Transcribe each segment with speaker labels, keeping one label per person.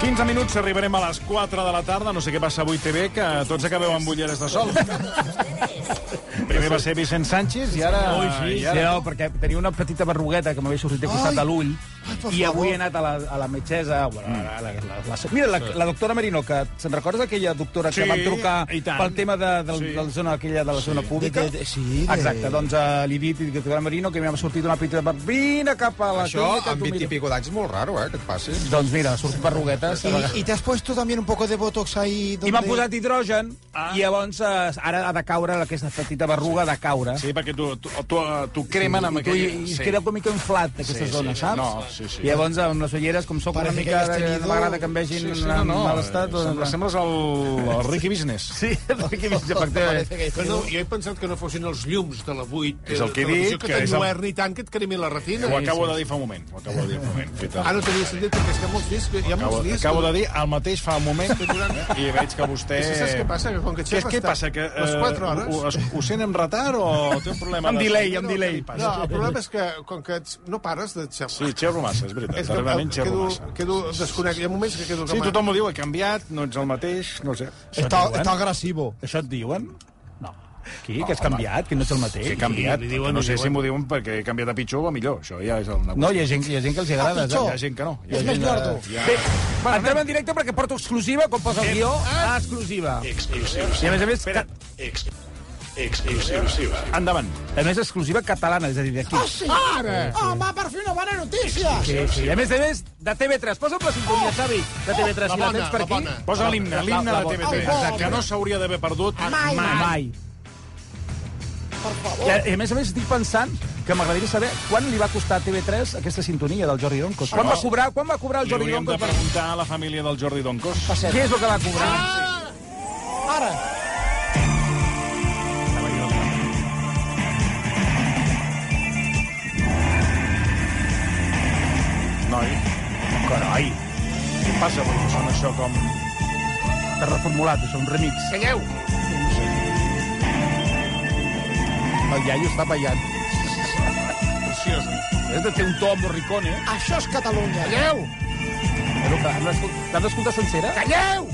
Speaker 1: 15 minuts arribarem a les 4 de la tarda. No sé què passa avui TV, que tots acabeu amb ulleres de sol. Primer va ser Vicent Sánchez i ara...
Speaker 2: Ui, sí,
Speaker 1: i
Speaker 2: sí,
Speaker 1: ara...
Speaker 2: no, perquè tenia una petita berrugueta que m'havia sortit de costat
Speaker 3: Ai,
Speaker 2: de l'ull
Speaker 3: ai, per
Speaker 2: i avui
Speaker 3: favor.
Speaker 2: he anat a la, a la metgessa... Bueno, a la, la, la, la, mira, la, la doctora Merino, que se'n recordes aquella doctora
Speaker 1: Sí,
Speaker 2: que van trucar
Speaker 1: i tant.
Speaker 2: pel tema de, de,
Speaker 1: Sí.
Speaker 2: de la zona, aquella de la zona pública?
Speaker 3: De- de- sí, de-
Speaker 2: Exacte, doncs eh, li he dit a la doctora Merino que m'ha sortit una petita... ber- Vine cap a la
Speaker 4: Això,
Speaker 2: clínica,
Speaker 4: amb
Speaker 2: tu
Speaker 4: 20 i
Speaker 2: mira.
Speaker 4: pico d'anys, molt raro, eh, que et passi.
Speaker 2: Doncs mira, surt berruguetes.
Speaker 3: Y, y te has puesto también un poco de botox ahí.
Speaker 2: I
Speaker 3: Donde...
Speaker 2: m'han posat hidrogen ah. i llavors eh, ara ha de caure aquesta petita berruga de caure.
Speaker 1: Sí, perquè tu, tu, tu, tu cremen amb
Speaker 2: I, tu,
Speaker 1: aquell...
Speaker 2: i, i sí. queda com una mica inflat aquesta
Speaker 1: Sí, sí,
Speaker 2: zona,
Speaker 1: sí.
Speaker 2: saps?
Speaker 1: No, sí, sí.
Speaker 2: I llavors amb les ulleres, com sóc una
Speaker 3: Parece que
Speaker 2: mica
Speaker 3: has
Speaker 2: de,
Speaker 3: tenido-
Speaker 2: de vegada que em vegin
Speaker 1: Sí, sí,
Speaker 2: en
Speaker 1: no, no. eh,
Speaker 2: mal estat...
Speaker 1: Sembles, sembles el, el Ricky Business.
Speaker 2: Sí, perquè m'hi
Speaker 3: Parece
Speaker 2: efectivament.
Speaker 3: que-
Speaker 5: Però no, jo he pensat que no fossin els llums de la 8.
Speaker 1: És el que he dit,
Speaker 5: Que,
Speaker 1: que
Speaker 5: que
Speaker 1: és el-
Speaker 5: t'enlluerni tant que et cremi la retina.
Speaker 1: Ho acabo de dir fa un moment. Ho acabo de dir fa un moment. Què
Speaker 2: Ah,
Speaker 1: tal?
Speaker 5: Ara no tenia sentit perquè és que molts discs, hi ha
Speaker 1: Acabo,
Speaker 5: molts discs.
Speaker 1: acabo de dir el mateix fa un moment
Speaker 2: eh?
Speaker 1: i veig que vostè...
Speaker 5: És que saps què passa? Que com que
Speaker 1: Què,
Speaker 5: xerres
Speaker 1: què
Speaker 5: tant,
Speaker 1: passa? Que,
Speaker 5: les
Speaker 1: eh,
Speaker 5: quatre hores-
Speaker 1: Ho, ho, ho sent amb retard o té un problema?
Speaker 2: Amb
Speaker 1: de-
Speaker 2: delay, amb
Speaker 1: No,
Speaker 2: delay.
Speaker 1: què li passa?
Speaker 5: No, el problema és que com que ets- no pares de xerrar.
Speaker 1: Sí, xerro massa, és veritat.
Speaker 5: És que
Speaker 1: Darrerament
Speaker 5: eh,
Speaker 1: xerro
Speaker 5: quedo,
Speaker 1: massa.
Speaker 5: quedo desconnectat. Hi ha moments que quedo...
Speaker 1: Sí,
Speaker 5: com a-
Speaker 1: tothom ho diu, he canviat, no ets el mateix, no ho sé.
Speaker 3: Está, está agresivo.
Speaker 2: Això et diuen? No. Qui? que has canviat? Que no ets el mateix?
Speaker 1: He canviat,
Speaker 5: li diuen,
Speaker 1: perquè no
Speaker 5: li
Speaker 1: sé
Speaker 5: diuen.
Speaker 1: si m'ho diuen perquè he canviat a pitjor o a millor. Això ja és el negoci.
Speaker 2: No, hi ha gent, hi ha gent que els agrada.
Speaker 3: Ah, pitjor.
Speaker 1: Hi ha gent que no. Hi ha
Speaker 3: És
Speaker 1: gent
Speaker 3: més
Speaker 1: que-
Speaker 3: llordo.
Speaker 1: hi ha-
Speaker 2: Bé, entrem en directe perquè porto exclusiva, com posa el guió,
Speaker 1: Ah.
Speaker 2: exclusiva.
Speaker 6: Exclusiva.
Speaker 2: I a més a més, ca-
Speaker 6: Ex, ex, exclusiva.
Speaker 1: Endavant.
Speaker 2: a més exclusiva catalana, és a dir, d'aquí.
Speaker 1: Ah,
Speaker 3: ¡Ahora! ¡Oh, va, por fin una buena noticia!
Speaker 2: Sí, sí. I a més a més, de TV3. Posa'm la sintonia, Xavi, de TV3, si la tens per aquí.
Speaker 1: Posa l'himne, l'himne
Speaker 2: La-
Speaker 1: de
Speaker 2: la-
Speaker 1: TV3,
Speaker 3: Exacte.
Speaker 1: que no s'hauria d'haver perdut mai.
Speaker 2: Mai. Per favor. I a, i a més a més estic pensant que m'agradaria saber quan li va costar a TV3 aquesta sintonia del Jordi Roncos. Quan va cobrar, quan va cobrar el
Speaker 1: Li
Speaker 2: Jordi
Speaker 1: hauríem de
Speaker 2: Roncos? Per...
Speaker 1: preguntar a la família del Jordi Doncos.
Speaker 2: Què és el que va cobrar?
Speaker 3: ¡Ahora!
Speaker 1: Noi. Carai. Què passa avui que sona això com...
Speaker 2: Està reformulat, això, un remix.
Speaker 5: Calleu!
Speaker 2: El iaio està ballant.
Speaker 1: Preciós.
Speaker 2: És de té un to morricone.
Speaker 3: Això és Catalunya.
Speaker 5: Calleu!
Speaker 2: Però que l'has escol- l'has d'escoltar sencera?
Speaker 5: Calleu!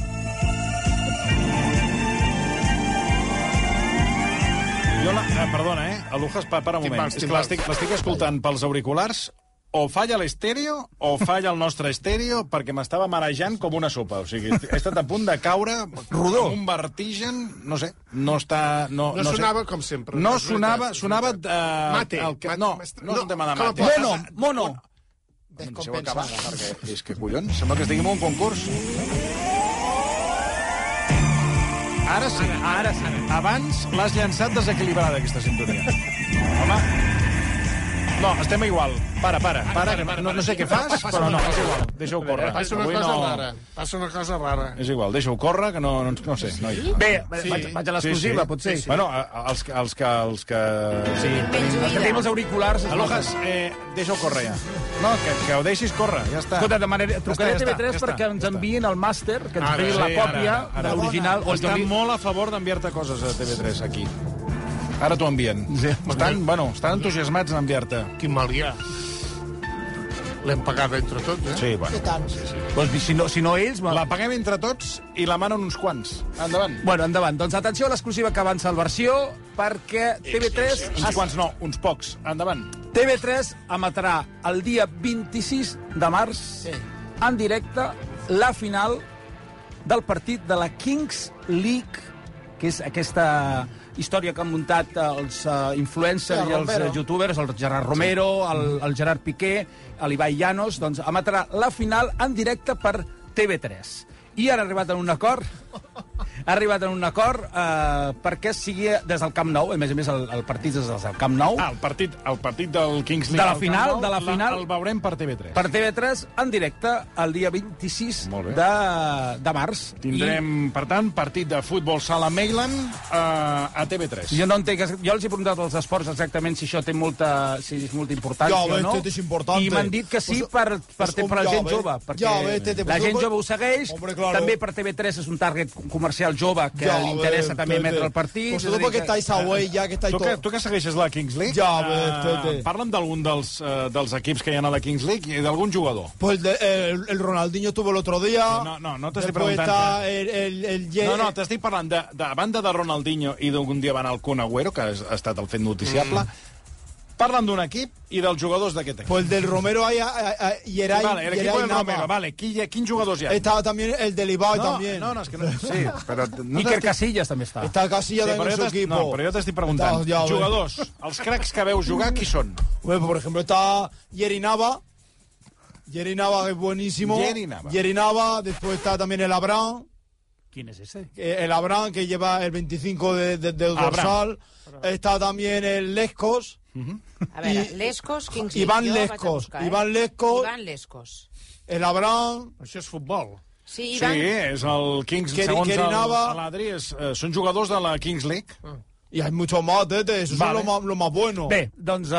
Speaker 1: Jo la... Eh, perdona, eh? Alujas, pa, para un moment.
Speaker 5: Timbals,
Speaker 1: És que
Speaker 5: timbals.
Speaker 1: l'estic l'estic escoltant pels auriculars o falla l'estèreo o falla el nostre estèreo perquè m'estava marejant com una sopa. O sigui, he estat a punt de caure rodó. un vertigen, no sé, no està... No,
Speaker 5: No,
Speaker 1: sé.
Speaker 5: sonava com sempre.
Speaker 1: No
Speaker 5: És veritat,
Speaker 1: sonava,
Speaker 5: és
Speaker 1: sonava...
Speaker 5: veritat.
Speaker 1: Eh,
Speaker 5: Mate.
Speaker 1: El que,
Speaker 5: Mate,
Speaker 1: no,
Speaker 5: mestre.
Speaker 1: no és un tema de
Speaker 5: que la
Speaker 1: mate.
Speaker 5: posa-
Speaker 2: Mono, mono.
Speaker 1: Deixeu acabar,
Speaker 3: Descompensada.
Speaker 1: perquè Eh, és que, collons, sembla que estiguem a un concurs. Ara sí, ara sí. Abans l'has llançat desequilibrada, aquesta sintonia. Home, no, estem igual. Para, para, para. que No, no sé què fas, però no, és igual.
Speaker 2: Eh,
Speaker 1: Deixa-ho córrer.
Speaker 5: Passa una
Speaker 1: Avui
Speaker 5: cosa
Speaker 1: no-
Speaker 5: rara. Passa una cosa rara.
Speaker 1: És igual, deixa-ho córrer, que no, no, no sé. Noi.
Speaker 2: Bé, vaig, vaig a l'exclusiva, potser.
Speaker 1: Bueno, a- a- els, que- els que... Els que... Sí.
Speaker 2: Els que tenim els auriculars... es-
Speaker 1: Alojas, eh, deixa-ho córrer, ja. No, que, que ho deixis córrer, ja està.
Speaker 2: Escolta, demanaré,
Speaker 1: Ja
Speaker 2: trucaré
Speaker 1: està, ja
Speaker 2: a TV3
Speaker 1: està, ja
Speaker 2: perquè
Speaker 1: està.
Speaker 2: ens enviïn el màster, que ens
Speaker 1: Ara,
Speaker 2: enviïn la
Speaker 1: sí,
Speaker 2: còpia
Speaker 1: ara, ara.
Speaker 2: de l'original. O el
Speaker 1: Estan
Speaker 2: Jordi-
Speaker 1: molt a favor d'enviar-te coses a TV3, aquí. Ara t'ho envien. Sí. Estan, bueno, estan entusiasmats en enviar-te.
Speaker 5: Quin mal hi ha. L'hem pagat entre tots, eh?
Speaker 1: Sí, bueno.
Speaker 3: I tant.
Speaker 2: Doncs, si, no, si no ells... me-
Speaker 1: La paguem entre tots i la manen uns quants. Endavant.
Speaker 2: Bueno, endavant. Doncs atenció a l'exclusiva que avança el versió, perquè TV3, Uh.
Speaker 1: Uns quants no, uns pocs. Endavant.
Speaker 2: TV3 emetrà el dia 26 de març
Speaker 3: Sí.
Speaker 2: en directe la final del partit de la Kings League, que és aquesta història que han muntat els uh, influencers
Speaker 3: Gerard
Speaker 2: i els eh,
Speaker 3: Romero.
Speaker 2: youtubers, el Gerard Romero, el, el Gerard Piqué, l'Ibai Llanos, doncs emetrà la final en directe per TV3. I han arribat en un acord ha arribat en un acord eh, perquè sigui des del Camp Nou, a més a més el, el partit és des del Camp Nou.
Speaker 1: Ah, el partit, el partit del Kings League.
Speaker 2: De la
Speaker 1: al Camp
Speaker 2: final,
Speaker 1: Nou,
Speaker 2: de la final.
Speaker 1: El veurem per TV3.
Speaker 2: per TV3 en directe el dia 26
Speaker 1: Molt bé.
Speaker 2: de, de març.
Speaker 1: Tindrem, per tant, partit de futbol sala Mailand eh, a TV3.
Speaker 2: I jo no entenc, jo els he preguntat als esports exactament si això té molta, si és molta importància
Speaker 3: Ja,
Speaker 2: o no.
Speaker 3: vete, és important.
Speaker 2: I m'han dit que sí
Speaker 3: Pues,
Speaker 2: per, per,
Speaker 3: pues,
Speaker 2: per,
Speaker 3: com
Speaker 2: la
Speaker 3: ja,
Speaker 2: gent
Speaker 3: ve-
Speaker 2: jove, perquè
Speaker 3: ja, vete, te
Speaker 2: la gent
Speaker 3: preocupa-
Speaker 2: jove ho segueix,
Speaker 3: Hombre, claro.
Speaker 2: també per TV3 és un target aquest comercial jove que
Speaker 3: Ja,
Speaker 2: li interessa
Speaker 3: vete,
Speaker 2: també emetre el partit. és
Speaker 3: Pues
Speaker 2: a
Speaker 3: todo
Speaker 2: dir
Speaker 3: porque estáis away ya, que estáis
Speaker 1: Tu que,
Speaker 3: todo.
Speaker 1: tu que segueixes la Kings League,
Speaker 3: Ja,
Speaker 1: eh,
Speaker 3: vete.
Speaker 1: parla'm d'algun dels, eh, dels equips que hi ha a la Kings League i d'algun jugador.
Speaker 3: Pues el, de- el- el Ronaldinho estuvo el otro día.
Speaker 1: No, no, no te estoy
Speaker 3: Después
Speaker 1: preguntando.
Speaker 3: está el, el, el Ye-
Speaker 1: No, no, t'estic parlant de, de a banda de Ronaldinho i d'algun dia van al Kun Agüero, que ha estat el fet noticiable. Mm. Parlen d'un equip i dels jugadors d'aquest equip.
Speaker 3: Pues el del Romero hay, hay, hay Yeray,
Speaker 1: vale, el equip
Speaker 3: Yeray
Speaker 1: del
Speaker 3: Nava.
Speaker 1: Romero, vale, qui, hi ha- quins jugadors hi ha?
Speaker 3: Estaba también el del Ibai
Speaker 1: no,
Speaker 3: también.
Speaker 1: no, no, és que no... Sí, però... No
Speaker 2: Iker Casillas també està.
Speaker 3: Está Casilla
Speaker 1: Sí,
Speaker 3: también
Speaker 1: però
Speaker 3: en
Speaker 1: jo
Speaker 3: su
Speaker 1: t'est-
Speaker 3: equipo.
Speaker 1: no, però jo t'estic preguntant.
Speaker 3: Está- ya, bueno.
Speaker 1: Jugadors, els cracs que veus jugar, qui són?
Speaker 3: Bueno, Pues, por ejemplo, está Yeri Nava. Yeri Nava es buenísimo.
Speaker 1: Yeri Nava.
Speaker 3: Yeri Nava. Después está también el Abraham.
Speaker 2: Quin és ese?
Speaker 3: eh, El Abraham que lleva el 25 de, de- de dorsal. Está también el Lescos.
Speaker 4: A veure,
Speaker 3: I-
Speaker 4: Lescos, Kings
Speaker 3: Ivan
Speaker 4: League, jo vaig a
Speaker 3: Lescos,
Speaker 4: buscar, eh?
Speaker 3: Ivan Lescos.
Speaker 4: Ivan Lescos.
Speaker 3: El Abraham.
Speaker 5: Això és futbol.
Speaker 4: Sí,
Speaker 1: Sí,
Speaker 4: Ivan,
Speaker 1: és el Kings,
Speaker 3: Keri-
Speaker 1: segons el-
Speaker 3: Kerinava.
Speaker 1: l'Adri, és, eh, són jugadors de la Kings League.
Speaker 3: Y hay muchos más, Tete. Eso
Speaker 2: Vale.
Speaker 3: es lo más, lo más bueno.
Speaker 2: Bé, doncs uh,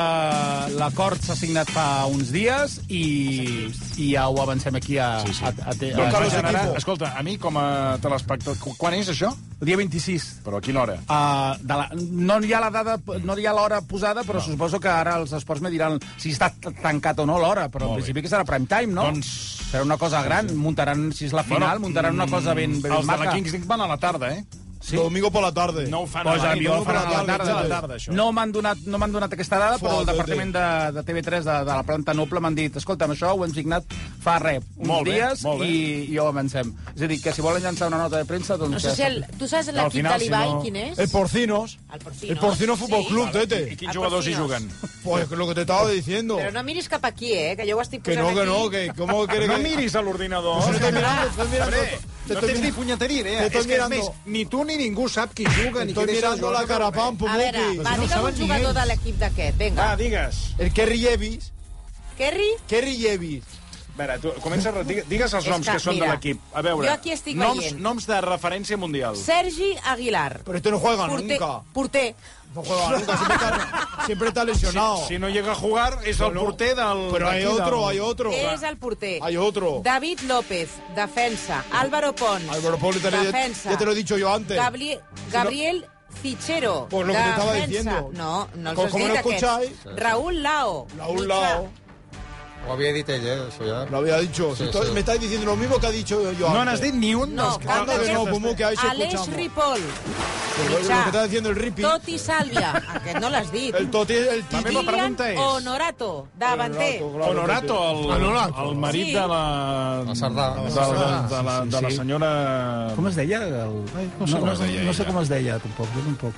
Speaker 2: l'acord s'ha signat fa uns dies i, i ja ho avancem aquí a... Sí, sí. a, a, a,
Speaker 1: Doncs,
Speaker 2: a,
Speaker 3: Carlos
Speaker 1: generar-
Speaker 3: Equipo.
Speaker 1: Escolta, a mi com a telespectador... cu- Quan és això?
Speaker 2: el dia 26.
Speaker 1: Però a quina hora?
Speaker 2: Uh, de la, no hi ha la dada, no hi ha l'hora posada, però no. suposo que ara els esports me diran si està t- tancat o no l'hora, però en
Speaker 1: Molt bé.
Speaker 2: principi que serà prime time, no?
Speaker 1: Doncs-
Speaker 2: Serà una cosa gran, muntaran, si és la
Speaker 1: Bueno,
Speaker 2: final, muntaran una cosa ben, ben
Speaker 1: Els de la
Speaker 2: maca.
Speaker 1: Kings League van a la tarda, eh?
Speaker 2: Sí.
Speaker 3: Domingo por la tarde.
Speaker 1: No ho fan
Speaker 2: Pues
Speaker 1: a la
Speaker 2: a
Speaker 1: nit,
Speaker 2: mi
Speaker 1: no
Speaker 2: ho
Speaker 1: ho
Speaker 2: faran
Speaker 1: fan a la tarda, eh? a la
Speaker 3: tarda.
Speaker 1: tarda, això.
Speaker 2: No m'han donat, no m'han donat aquesta dada, però el
Speaker 3: Fua,
Speaker 2: departament de, de TV3 de, de la planta noble m'han dit escolta'm, això ho hem signat fa rep, uns
Speaker 1: Molt bé,
Speaker 2: dies
Speaker 1: molt bé.
Speaker 2: i, i ho avancem. És a dir, que si volen llançar una nota de premsa, doncs...
Speaker 4: no sé si el, tu saps l'equip
Speaker 1: final,
Speaker 4: de l'Ibai,
Speaker 1: si no-
Speaker 4: quin és?
Speaker 3: El Porcinos.
Speaker 4: El Porcinos.
Speaker 3: El Porcinos Fútbol
Speaker 4: Sí.
Speaker 3: Club, eh,
Speaker 1: I
Speaker 3: Tete.
Speaker 1: quins jugadors hi juguen?
Speaker 3: Pues lo que te estaba diciendo.
Speaker 4: Però no miris cap aquí, eh, que jo ho estic
Speaker 3: Que
Speaker 4: posant
Speaker 3: no,
Speaker 4: aquí.
Speaker 3: que no, que cómo quiere
Speaker 1: No
Speaker 3: que...
Speaker 1: miris a l'ordinador.
Speaker 3: No estoy mirando, estoy mirando.
Speaker 1: Hombre,
Speaker 3: Te
Speaker 1: no
Speaker 3: estoy
Speaker 1: tens ni
Speaker 3: mirando.
Speaker 1: punyeteria eh? idea.
Speaker 3: Te estoy
Speaker 1: És que, a
Speaker 3: mirando.
Speaker 1: més, ni tu ni ningú sap qui juga ni
Speaker 3: Estoy
Speaker 1: qui deixa de
Speaker 3: mirando
Speaker 1: jugar.
Speaker 3: la cara, pam, pum,
Speaker 4: A veure,
Speaker 3: buki.
Speaker 4: va,
Speaker 3: Pues no
Speaker 4: digue'm
Speaker 3: saben
Speaker 4: un
Speaker 3: ni
Speaker 4: jugador
Speaker 3: ells.
Speaker 4: de l'equip d'aquest, vinga.
Speaker 1: Va, Ah, digues.
Speaker 3: El Kerry Yevis.
Speaker 4: Kerry,
Speaker 3: Kerry Yevis.
Speaker 1: A veure, tu, comença, a- digue- digues els
Speaker 4: És
Speaker 1: noms
Speaker 4: que,
Speaker 1: que, són de
Speaker 4: mira,
Speaker 1: l'equip. A veure,
Speaker 4: jo aquí estic
Speaker 1: noms,
Speaker 4: veient.
Speaker 1: noms de referència mundial.
Speaker 4: Sergi Aguilar.
Speaker 3: Pero este no juega
Speaker 4: Porter,
Speaker 3: nunca.
Speaker 4: porter.
Speaker 3: No juega nunca, siempre está, siempre está lesionado.
Speaker 1: Si no llega a jugar, és el porter del...
Speaker 3: Pero hay
Speaker 1: d'aquí, del-
Speaker 3: otro, hay otro.
Speaker 4: És el porter.
Speaker 3: Hay otro.
Speaker 4: David López, defensa. Álvaro Pons,
Speaker 3: Álvaro Pons, ya-
Speaker 4: defensa.
Speaker 3: ya te lo he dicho yo antes.
Speaker 4: Gabri- Gabriel Fichero,
Speaker 3: Pues lo que te estaba
Speaker 4: defensa.
Speaker 3: diciendo.
Speaker 4: No, no els
Speaker 3: Como-
Speaker 4: has
Speaker 3: como
Speaker 4: dit
Speaker 3: no
Speaker 4: aquests.
Speaker 3: escucháis.
Speaker 4: Raúl Lao.
Speaker 3: A un
Speaker 4: mitjà.
Speaker 3: lado.
Speaker 7: Ho havia dit ell, eh, això ja.
Speaker 3: Lo había dicho. Si
Speaker 7: Sí,
Speaker 3: to-
Speaker 7: sí.
Speaker 3: Me estáis diciendo lo mismo que ha dicho yo
Speaker 1: No
Speaker 3: antes.
Speaker 1: n'has dit ni un
Speaker 4: No,
Speaker 1: dels
Speaker 4: cal
Speaker 3: Anda
Speaker 4: que
Speaker 3: que no, Pumú, que ahí se
Speaker 4: Aleix
Speaker 3: escuchamos.
Speaker 4: Ripoll,
Speaker 3: Pues lo-
Speaker 4: mitjà.
Speaker 3: Lo que está diciendo el Ripi.
Speaker 4: Toti Sàlvia. Aquest no l'has dit.
Speaker 3: El Toti, el Titi.
Speaker 1: La meva pregunta és-
Speaker 4: Honorato, davanter.
Speaker 3: Honorato, claro,
Speaker 1: Honorato, el,
Speaker 5: Honorato.
Speaker 1: el marit
Speaker 4: Sí.
Speaker 1: de la...
Speaker 7: La Sardà.
Speaker 1: De, de, de, la, de la senyora...
Speaker 2: Com es deia? El...
Speaker 1: no sé com es deia
Speaker 2: no sé
Speaker 1: ella.
Speaker 2: com es deia, tampoc. Jo tampoc.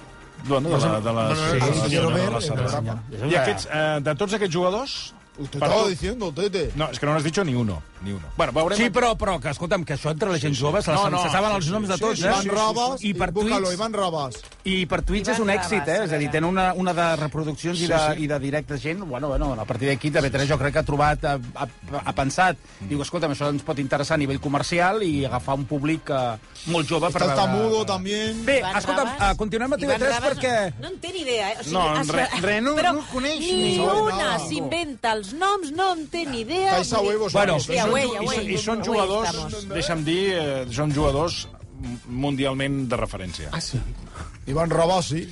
Speaker 1: Bueno, de la, de la,
Speaker 5: Sí,
Speaker 1: de la
Speaker 5: sí,
Speaker 1: senyora
Speaker 3: Robert,
Speaker 1: de la
Speaker 3: la
Speaker 1: Sardà.
Speaker 2: senyora.
Speaker 1: I aquests, eh, de tots aquests jugadors...
Speaker 3: Usted
Speaker 1: per
Speaker 3: estaba
Speaker 1: tu-
Speaker 3: diciendo, Tete.
Speaker 1: No, és que no n'has dit ni uno. Ni uno. Bueno, veurem...
Speaker 2: Sí, però, però que, escolta'm, que això entre la gent jove se, no,
Speaker 1: No, no,
Speaker 2: no, se saben
Speaker 1: sí,
Speaker 2: els
Speaker 1: sí,
Speaker 2: noms de
Speaker 1: sí,
Speaker 2: tots,
Speaker 1: sí,
Speaker 2: eh?
Speaker 1: sí,
Speaker 3: Iván Rabas.
Speaker 2: I per
Speaker 3: búscalo,
Speaker 2: tuits-
Speaker 3: Iván Rabas.
Speaker 2: I per Twitch
Speaker 4: Ivan
Speaker 2: és un èxit,
Speaker 4: Rabas,
Speaker 2: eh? És a dir,
Speaker 4: a veure.
Speaker 2: tenen una, una de reproduccions i, de,
Speaker 1: Sí, sí.
Speaker 2: i de directes gent. Bueno, bueno, a partir d'aquí també Teresa jo crec que ha trobat, ha, ha, ha pensat, diu, escolta'm, això ens pot interessar a nivell comercial i agafar un públic eh, molt jove per
Speaker 3: Está el
Speaker 2: veure...
Speaker 3: Tamudo también.
Speaker 2: Bé,
Speaker 4: Ivan
Speaker 2: escolta'm,
Speaker 4: Rabas.
Speaker 2: eh, continuem a
Speaker 4: Ivan
Speaker 2: TV3
Speaker 4: Rabas
Speaker 2: perquè...
Speaker 4: No, no en té ni idea, eh? O sigui,
Speaker 1: No, en
Speaker 4: es-
Speaker 1: re- re- no-
Speaker 4: però
Speaker 1: no el coneix
Speaker 4: ni,
Speaker 1: ni
Speaker 3: sabe
Speaker 4: una
Speaker 3: nada.
Speaker 4: s'inventa els noms, no en té ni idea.
Speaker 3: Estáis a
Speaker 4: vull dir-
Speaker 3: huevos.
Speaker 2: Bueno,
Speaker 3: ahora.
Speaker 4: Sí, a
Speaker 1: Són
Speaker 4: Güey,
Speaker 1: ju- i,
Speaker 4: güey,
Speaker 1: són- I són
Speaker 4: güey,
Speaker 1: jugadors,
Speaker 4: estamos.
Speaker 1: deixa'm dir, eh, són jugadors mundialment de referència. Ah, sí.
Speaker 3: Iván Rabas, sí.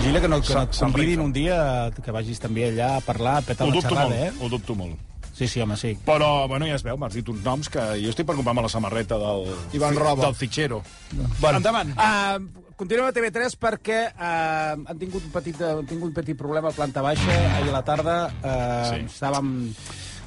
Speaker 2: Vigila que no, que no et
Speaker 1: Se'n
Speaker 2: convidin
Speaker 1: rifa.
Speaker 2: un dia que vagis també allà a parlar, a petar
Speaker 1: Ho
Speaker 2: la
Speaker 1: dubto
Speaker 2: xerrada,
Speaker 1: molt,
Speaker 2: eh?
Speaker 1: ho dubto molt.
Speaker 2: Sí, sí, home, sí.
Speaker 1: Però, bueno, ja es veu, m'has dit uns noms que jo estic per comprar-me la samarreta del...
Speaker 3: Ivan Robo.
Speaker 1: Del fitxero. Bueno, endavant.
Speaker 2: Uh, continuem a TV3 perquè uh, han tingut un petit, han tingut un petit problema a planta baixa ahir a la tarda. Uh,
Speaker 1: Sí.
Speaker 2: sí. Estàvem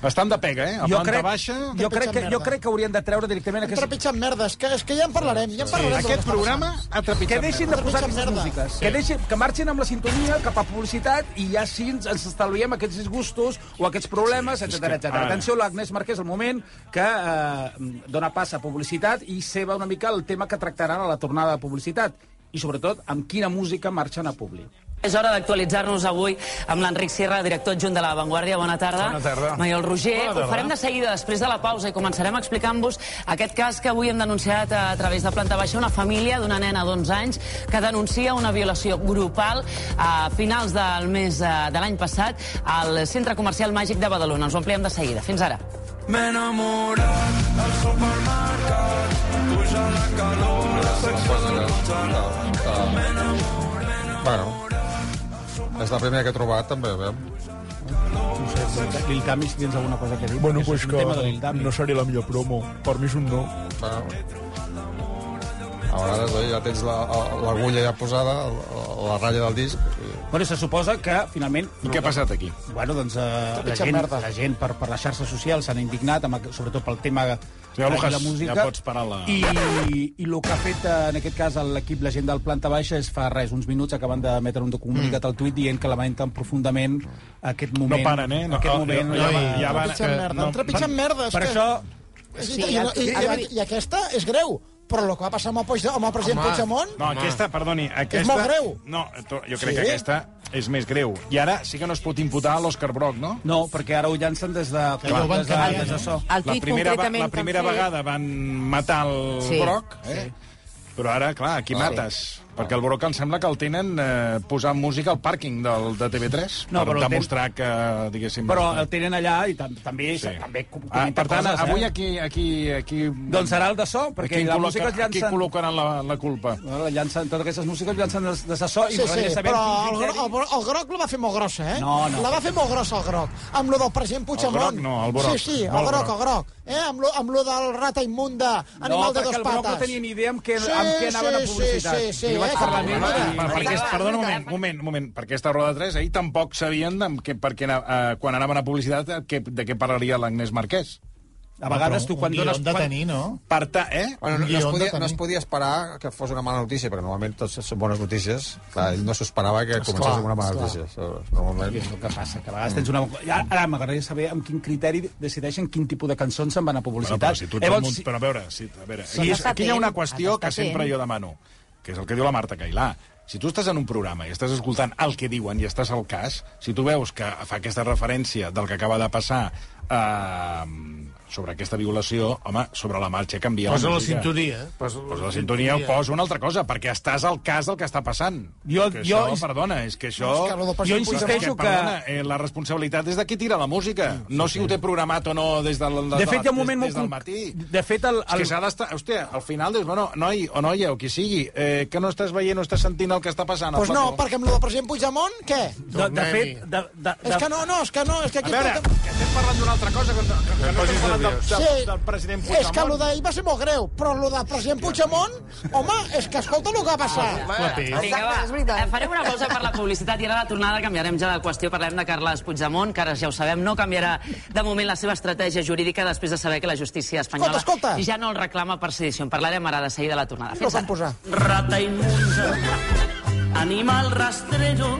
Speaker 1: Estan de pega, eh? A
Speaker 2: jo
Speaker 1: planta
Speaker 2: crec,
Speaker 1: baixa...
Speaker 2: Jo crec, que, jo
Speaker 3: merda.
Speaker 2: crec que haurien de treure directament aquest...
Speaker 3: Trepitjant merdes, que, és que ja en parlarem, ja en parlarem.
Speaker 1: Aquest programa ha
Speaker 2: Que
Speaker 1: trepitjat
Speaker 2: deixin de
Speaker 1: merda.
Speaker 2: posar aquestes
Speaker 3: Trepitjant merda.
Speaker 2: músiques. Que, deixin, que marxin amb la sintonia cap a publicitat i ja així ens ens estalviem aquests disgustos o aquests problemes,
Speaker 1: és
Speaker 2: etc
Speaker 1: que
Speaker 2: etc.
Speaker 1: ara.
Speaker 2: Atenció, l'Agnès Marquès, al moment, que eh, dona pas a publicitat i seva una mica el tema que tractaran a la tornada de publicitat i, sobretot, amb quina música marxen a públic.
Speaker 8: És hora d'actualitzar-nos avui amb l'Enric Sierra, director adjunt de La Vanguardia. Bona tarda.
Speaker 1: Bona tarda.
Speaker 8: Mariel Roger.
Speaker 1: Bona tarda.
Speaker 8: Ho farem de seguida, després de la pausa, i començarem explicant-vos aquest cas que avui hem denunciat a, través de Planta Baixa, una família d'una nena d'11 anys que denuncia una violació grupal a finals del mes eh, de l'any passat al Centre Comercial Màgic de Badalona. Ens ho ampliem de seguida. Fins ara.
Speaker 9: M'he enamorat al supermercat, puja la calor, la secció del congelat.
Speaker 5: Bueno, és la primera que he trobat, també, aviam.
Speaker 2: No sé, Lil Tami, si tens alguna cosa que dir.
Speaker 10: Bueno,
Speaker 2: perquè
Speaker 10: pues
Speaker 2: és un
Speaker 10: que
Speaker 2: tema de Lil Tami.
Speaker 10: no seré la millor promo. Per mi és un no.
Speaker 5: Bueno. A vegades oi, ja tens la- l'agulla ja posada, la, la ratlla del disc, i
Speaker 2: Bueno, se suposa que, finalment...
Speaker 11: I què ha passat aquí?
Speaker 2: Bueno, doncs eh, la, gent, la gent per, per les xarxes socials s'han indignat, amb, aqu- sobretot pel tema
Speaker 1: Ja, Lucas,
Speaker 2: de la música.
Speaker 1: ja pots parar la-
Speaker 2: I, I el que ha fet, eh, en aquest cas, l'equip, la gent del Planta Baixa, és fa res, uns minuts, acaben d'emetre un comunicat al tuit dient que lamenten profundament aquest moment.
Speaker 1: Mm. No paren, eh? No,
Speaker 2: aquest
Speaker 1: ah,
Speaker 2: moment.
Speaker 1: ja- ja-
Speaker 2: eh,
Speaker 1: ja van-
Speaker 3: Trepitjant
Speaker 1: que
Speaker 3: merda,
Speaker 1: no-
Speaker 3: no, trepitjant merda. és
Speaker 2: Per
Speaker 3: que-
Speaker 2: això...
Speaker 3: és
Speaker 8: Sí,
Speaker 3: que- i,
Speaker 8: ja-
Speaker 3: no- i, i, I aquesta és greu, però el que va passar amb el, Puig, amb el president
Speaker 11: Home.
Speaker 3: Puigdemont...
Speaker 1: No, aquesta, perdoni, aquesta...
Speaker 3: molt greu.
Speaker 1: No, to- jo crec
Speaker 3: Sí?
Speaker 1: que aquesta és més greu. I ara sí que no es pot imputar a l'Òscar Brock, no?
Speaker 2: No, perquè ara ho llancen des de...
Speaker 3: ja ho van
Speaker 2: des de,
Speaker 3: canviar,
Speaker 2: des de so.
Speaker 12: El
Speaker 1: la
Speaker 12: tuit
Speaker 1: primera, va- la
Speaker 12: concretament que han
Speaker 1: primera
Speaker 12: fet-
Speaker 1: vegada van matar el
Speaker 12: Sí.
Speaker 1: Broc, eh? però ara, clar, aquí mates. Perquè el Broc em sembla que el tenen eh, posant música al pàrquing del, de TV3
Speaker 2: No,
Speaker 1: per
Speaker 2: però el ten-
Speaker 1: demostrar que, diguéssim...
Speaker 2: Però el tenen allà i tam també,
Speaker 1: Sí.
Speaker 2: sí. també com-
Speaker 1: Ah,
Speaker 2: comenta
Speaker 1: per tant,
Speaker 2: coses,
Speaker 1: avui
Speaker 2: eh?
Speaker 1: aquí... aquí, aquí
Speaker 2: Doncs serà el de so, perquè
Speaker 1: aquí
Speaker 2: la
Speaker 1: col·loca-
Speaker 2: música es
Speaker 1: Aquí
Speaker 2: llancen...
Speaker 1: col·locaran la, la culpa.
Speaker 2: Bueno, la llancen, totes aquestes músiques es llancen des, des de so i
Speaker 3: Sí, sí,
Speaker 2: nosaltres ja sabem
Speaker 3: però el,
Speaker 2: quin
Speaker 3: gro-
Speaker 2: criteri-
Speaker 3: el, gro- el groc la va fer molt grossa, eh?
Speaker 2: No, no.
Speaker 3: La va fer molt grossa, el groc. Amb lo del president Puigdemont.
Speaker 1: groc no, el broc.
Speaker 3: Sí, sí, el
Speaker 1: Molt
Speaker 3: groc,
Speaker 1: groc.
Speaker 3: el groc. Eh? Amb, lo, amb lo del rata immunda,
Speaker 2: no,
Speaker 3: animal de
Speaker 2: perquè
Speaker 3: dos
Speaker 2: el Broc
Speaker 3: pates.
Speaker 2: no tenia ni idea amb què, amb què anaven a publicitat.
Speaker 3: Sí, sí, sí,
Speaker 2: Jo vaig
Speaker 3: eh,
Speaker 2: parlar
Speaker 3: que-
Speaker 2: amb ell i-
Speaker 1: Per, perquè,
Speaker 8: Endavant,
Speaker 1: perdona, un moment,
Speaker 8: endavant.
Speaker 1: un moment, un moment. Per aquesta roda de tres, ahir tampoc sabien de, que, perquè, eh, quan anaven a publicitat eh, que, de què parlaria l'Agnès Marquès.
Speaker 2: A vegades tu quan dones...
Speaker 3: de
Speaker 2: Quan...
Speaker 3: tenir, no?
Speaker 1: Per tant, eh?
Speaker 5: Bueno, no, no, es
Speaker 3: Guió de
Speaker 5: podia,
Speaker 3: tenir.
Speaker 5: no es podia esperar que fos una mala notícia, perquè normalment tots són bones notícies. Clar, ell no s'ho esperava que comencés amb una mala notícia. Això, Normalment...
Speaker 2: I és el que passa, que a vegades tens una... Ja, Ara m'agradaria saber amb quin criteri decideixen quin tipus de cançons se'n van a
Speaker 1: Bueno,
Speaker 2: publicitat.
Speaker 1: però, si tu ets
Speaker 2: Llavors,
Speaker 1: Llavors,
Speaker 2: si-
Speaker 1: però a veure, si, a veure
Speaker 12: Sí,
Speaker 1: aquí, és,
Speaker 12: has estat
Speaker 1: aquí hi ha
Speaker 12: fent,
Speaker 1: una
Speaker 12: has
Speaker 1: qüestió que
Speaker 12: estat
Speaker 1: sempre
Speaker 12: fent.
Speaker 1: jo demano, que és el que diu la Marta Cailà. Si tu estàs en un programa i estàs escoltant el que diuen i estàs al cas, si tu veus que fa aquesta referència del que acaba de passar eh, sobre aquesta violació, home, sobre la marxa canvia
Speaker 11: Posa la
Speaker 1: música.
Speaker 11: sintonia. eh? Posa
Speaker 1: Pues la sintonia posa una altra cosa, perquè estàs al cas del que està passant.
Speaker 2: Jo-
Speaker 1: que
Speaker 2: jo-
Speaker 1: això, perdona, és que això...
Speaker 3: No, és que lo
Speaker 2: Jo
Speaker 3: del president
Speaker 2: insisteixo
Speaker 1: que,
Speaker 2: que...
Speaker 1: perdona, eh, la responsabilitat és de qui tira la música, no si ho té programat o no des del, des
Speaker 2: De fet, hi ha
Speaker 1: des-
Speaker 2: un moment
Speaker 1: des,
Speaker 2: molt...
Speaker 1: del
Speaker 2: conc-
Speaker 1: matí.
Speaker 2: De fet, el,
Speaker 1: És que s'ha d'estar... Hòstia, al final dius, bueno, noi o noia, o qui sigui, eh, que no estàs veient o estàs sentint el que està passant. al
Speaker 3: Doncs no,
Speaker 1: plató.
Speaker 3: perquè amb lo del president Puigdemont, què?
Speaker 2: de, de
Speaker 11: Tornem-hi.
Speaker 2: fet... De, de, de,
Speaker 3: És que no, no, és que no, és que
Speaker 1: A
Speaker 3: aquí...
Speaker 1: veure,
Speaker 3: escolta-
Speaker 1: que estem parlant d'una altra cosa, que, no- que, que no estem parlant del, del,
Speaker 3: Sí,
Speaker 1: del president
Speaker 3: És que allò
Speaker 1: Puigdemont.
Speaker 3: d'ahir va ser molt greu, però allò del president Puigdemont, home, és que escolta el que va passar.
Speaker 8: Vinga, va. Eh, Farem una pausa per la publicitat i ara a la tornada canviarem ja de qüestió. Parlem de Carles Puigdemont, que ara ja ho sabem, no canviarà de moment la seva estratègia jurídica després de saber que la justícia espanyola
Speaker 3: Escolta, escolta.
Speaker 8: ja no el reclama per sedició. En parlarem ara de seguida a la tornada.
Speaker 3: Lo van posar.
Speaker 9: Rata imunda, animal rastrero,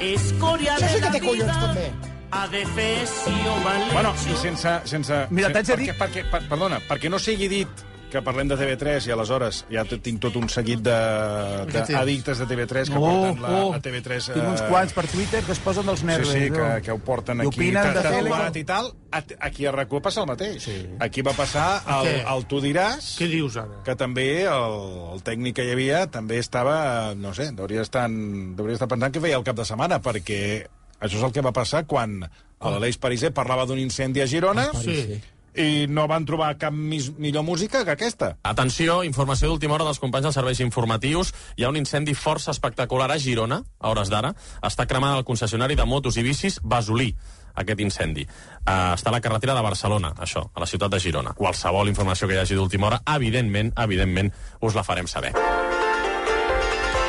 Speaker 9: escoria
Speaker 3: Això sí que
Speaker 9: de la
Speaker 3: té collons,
Speaker 9: vida,
Speaker 3: també.
Speaker 9: adefesio mal
Speaker 1: Bueno, i
Speaker 9: hecho.
Speaker 1: sense... sense
Speaker 2: Mira, t'haig de
Speaker 1: perquè,
Speaker 2: dir-
Speaker 1: Perquè, per, perdona, perquè no sigui dit que parlem de TV3 i aleshores ja t- tinc tot un seguit d'addictes de, TV3 que porten la, la TV3...
Speaker 2: Oh, Tinc uns
Speaker 1: eh,
Speaker 2: quants per Twitter que es posen dels
Speaker 1: Sí,
Speaker 2: nervis.
Speaker 1: sí, que,
Speaker 2: no?
Speaker 1: que ho porten
Speaker 2: I
Speaker 1: aquí.
Speaker 2: opinen
Speaker 1: t'ha-
Speaker 2: de
Speaker 1: t'ha
Speaker 2: tele.
Speaker 1: trobat I tal, A- aquí a RAC1 passa el mateix. Aquí va passar el,
Speaker 11: Què?
Speaker 1: el Tu diràs,
Speaker 11: Què dius ara?
Speaker 1: que també el, el tècnic que hi havia també estava, eh, no sé, hauria estar, hauria estar pensant que feia el cap de setmana, perquè això és el que va passar quan l'Aleix Pariser parlava d'un incendi a Girona
Speaker 11: Sí.
Speaker 1: i no van trobar cap mis, millor música que aquesta.
Speaker 13: Atenció, informació d'última hora dels companys dels serveis informatius. Hi ha un incendi força espectacular a Girona, a hores d'ara. Està cremant el concessionari de motos i bicis Basolí, aquest incendi. Uh, està a la carretera de Barcelona, això, a la ciutat de Girona. Qualsevol informació que hi hagi d'última hora, evidentment, evidentment, us la farem saber.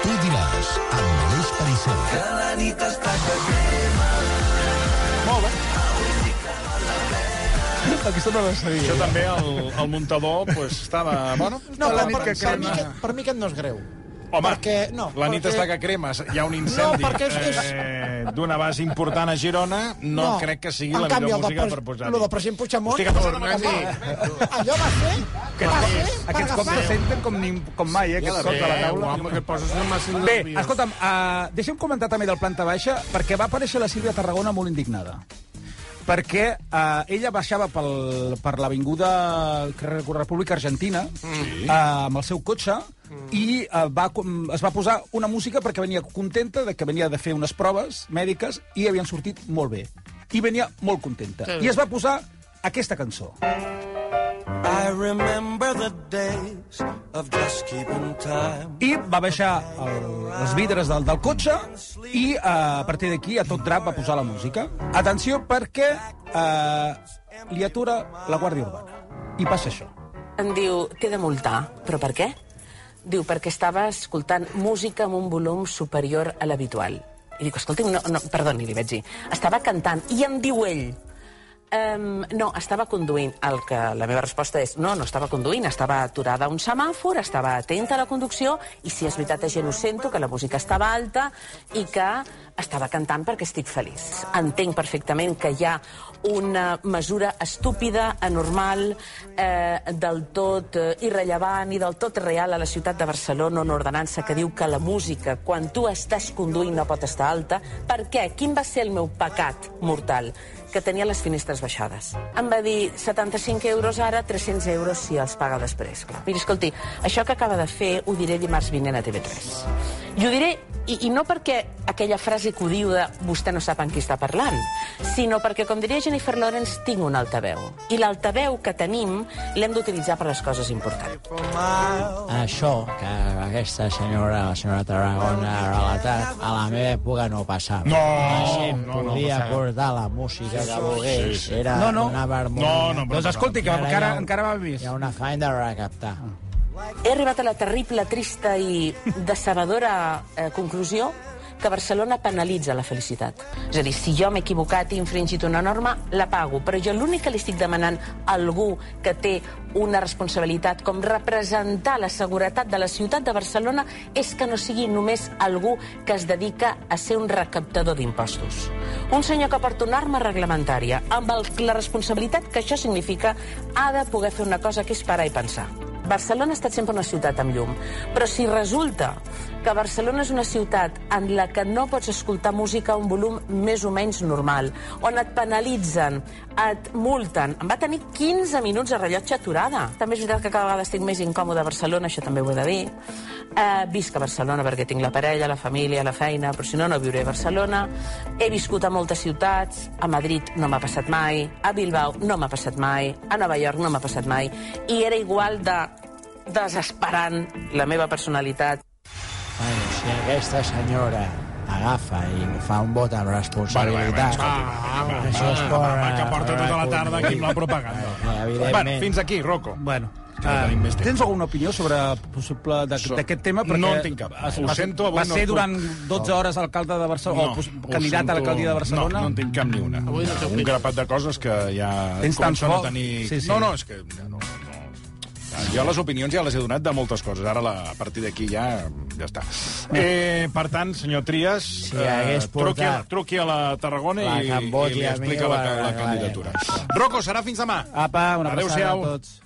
Speaker 9: Tu diràs, amb Aleix Pariseu.
Speaker 2: Aquesta no la sabia.
Speaker 1: Això també el, el muntador pues, estava... Bueno,
Speaker 3: No,
Speaker 1: la
Speaker 3: però
Speaker 1: nit
Speaker 3: per,
Speaker 1: que
Speaker 3: per, mi,
Speaker 1: crema...
Speaker 3: aquest, per mi aquest no és greu.
Speaker 1: Home,
Speaker 3: perquè, no,
Speaker 1: la nit
Speaker 3: perquè-
Speaker 1: està que cremes, hi ha un incendi
Speaker 3: No, perquè és- és-
Speaker 1: eh, d'una base important a Girona, no, crec que sigui
Speaker 3: En
Speaker 1: la
Speaker 3: canvi,
Speaker 1: millor
Speaker 3: el del
Speaker 1: música
Speaker 3: pres-
Speaker 1: per posar-hi.
Speaker 3: Lo del president Puigdemont...
Speaker 1: Hosti, que torna,
Speaker 3: Allò va ser... Va ser per
Speaker 2: Aquests cops
Speaker 3: agafar...
Speaker 2: se senten com, ni, com mai, eh, aquests cops a la taula.
Speaker 11: home, que et poses una massa
Speaker 2: Bé, escolta'm, uh, deixem comentar també del planta baixa, perquè va aparèixer la Sílvia Tarragona molt indignada. Perquè uh, ella baixava pel, per l'avinguda República Argentina sí. uh, amb el seu cotxe i uh, va, com- es va posar una música perquè venia contenta de que venia de fer unes proves mèdiques i havien sortit molt bé. I venia molt contenta. I es va posar aquesta cançó.
Speaker 14: I remember the days of just keeping time.
Speaker 2: I va baixar el, les vidres del, del cotxe i eh, a partir d'aquí a tot drap va posar la música. Atenció perquè eh, li atura la Guàrdia Urbana. I passa això.
Speaker 12: Em diu, t'he de multar. Però per què? Diu, perquè estava escoltant música amb un volum superior a l'habitual. I dic, escolti, no, no, perdoni, li vaig dir. Estava cantant. I em diu ell, Um, no, estava conduint. El que la meva resposta és no, no estava conduint, estava aturada a un semàfor, estava atenta a la conducció i si és veritat és innocento, que la música estava alta i que estava cantant perquè estic feliç. Entenc perfectament que hi ha una mesura estúpida, anormal, eh, del tot eh, irrellevant i del tot real a la ciutat de Barcelona, una ordenança que diu que la música, quan tu estàs conduint, no pot estar alta. Per què? Quin va ser el meu pecat mortal? que tenia les finestres baixades. Em va dir 75 euros ara, 300 euros si els paga després. Clar. Miri, escolti, això que acaba de fer ho diré dimarts vinent a TV3. I ho diré, i, i no perquè aquella frase que ho diu de vostè no sap amb qui està parlant, sinó perquè, com diria Jennifer Lawrence, tinc un altaveu. I l'altaveu que tenim l'hem d'utilitzar per les coses importants.
Speaker 15: Això que aquesta senyora, la senyora Tarragona, ha relatat, a la meva època no passava.
Speaker 1: No,
Speaker 15: la gent
Speaker 1: no, no
Speaker 15: podia
Speaker 1: passava.
Speaker 15: portar la música que
Speaker 1: Sí,
Speaker 15: volgués.
Speaker 1: sí.
Speaker 15: Era
Speaker 2: No, no.
Speaker 15: una vermulla.
Speaker 2: No, no, però Doncs escolti, que encara- encara
Speaker 15: va més. Hi ha una feina de recaptar.
Speaker 12: He arribat a la terrible, trista i decebedora eh, conclusió que Barcelona penalitza la felicitat. És a dir, si jo m'he equivocat i he infringit una norma, la pago. Però jo l'únic que li estic demanant a algú que té una responsabilitat com representar la seguretat de la ciutat de Barcelona és que no sigui només algú que es dedica a ser un recaptador d'impostos. Un senyor que porta una arma reglamentària, amb el, la responsabilitat que això significa, ha de poder fer una cosa que és parar i pensar. Barcelona ha estat sempre una ciutat amb llum, però si resulta que Barcelona és una ciutat en la que no pots escoltar música a un volum més o menys normal, on et penalitzen, et multen... Em va tenir 15 minuts de rellotge aturada. També és veritat que cada vegada estic més incòmode a Barcelona, això també ho he de dir. Eh, visc a Barcelona perquè tinc la parella, la família, la feina, però si no, no viuré a Barcelona. He viscut a moltes ciutats, a Madrid no m'ha passat mai, a Bilbao no m'ha passat mai, a Nova York no m'ha passat mai, i era igual de desesperant la meva personalitat.
Speaker 15: Bueno, si aquesta senyora agafa i fa un vot amb responsabilitat...
Speaker 1: Ah,
Speaker 15: Això és
Speaker 1: va,
Speaker 15: por...
Speaker 1: va, que porta tota la tarda aquí amb la propaganda. Bueno, ah, fins aquí, Rocco.
Speaker 2: Bueno, Uh, tens alguna opinió sobre possible d'a- d'aquest tema? Perquè
Speaker 1: No en tinc cap.
Speaker 2: es-
Speaker 1: Ho
Speaker 2: va-
Speaker 1: sento, avui
Speaker 2: va
Speaker 1: no
Speaker 2: ser
Speaker 1: puc.
Speaker 2: durant 12 hores alcalde de Barcelona, o pos-
Speaker 1: ho
Speaker 2: candidat a l'alcaldia de
Speaker 1: No,
Speaker 2: Barcelona.
Speaker 1: no en tinc cap ni una.
Speaker 2: Avui no té
Speaker 1: un
Speaker 2: opinió.
Speaker 1: grapat de coses que ja
Speaker 2: Tens tant
Speaker 1: comencen a
Speaker 2: foc.
Speaker 1: tenir...
Speaker 2: Sí, sí.
Speaker 1: No, no, és que... No, no, no. Jo les opinions ja les he donat de moltes coses. Ara, la, a partir d'aquí, ja ja està. Eh, per tant, senyor Trias, eh,
Speaker 15: Si hagués
Speaker 1: truqui, a,
Speaker 15: portat
Speaker 1: truqui a la Tarragona
Speaker 15: la
Speaker 1: i,
Speaker 15: que em voti
Speaker 1: i li
Speaker 15: a mi,
Speaker 1: explica la,
Speaker 15: vale,
Speaker 1: la
Speaker 15: vale.
Speaker 1: candidatura. Rocco, serà fins demà.
Speaker 2: Apa, una
Speaker 1: Adéu-siau.
Speaker 2: passada a tots.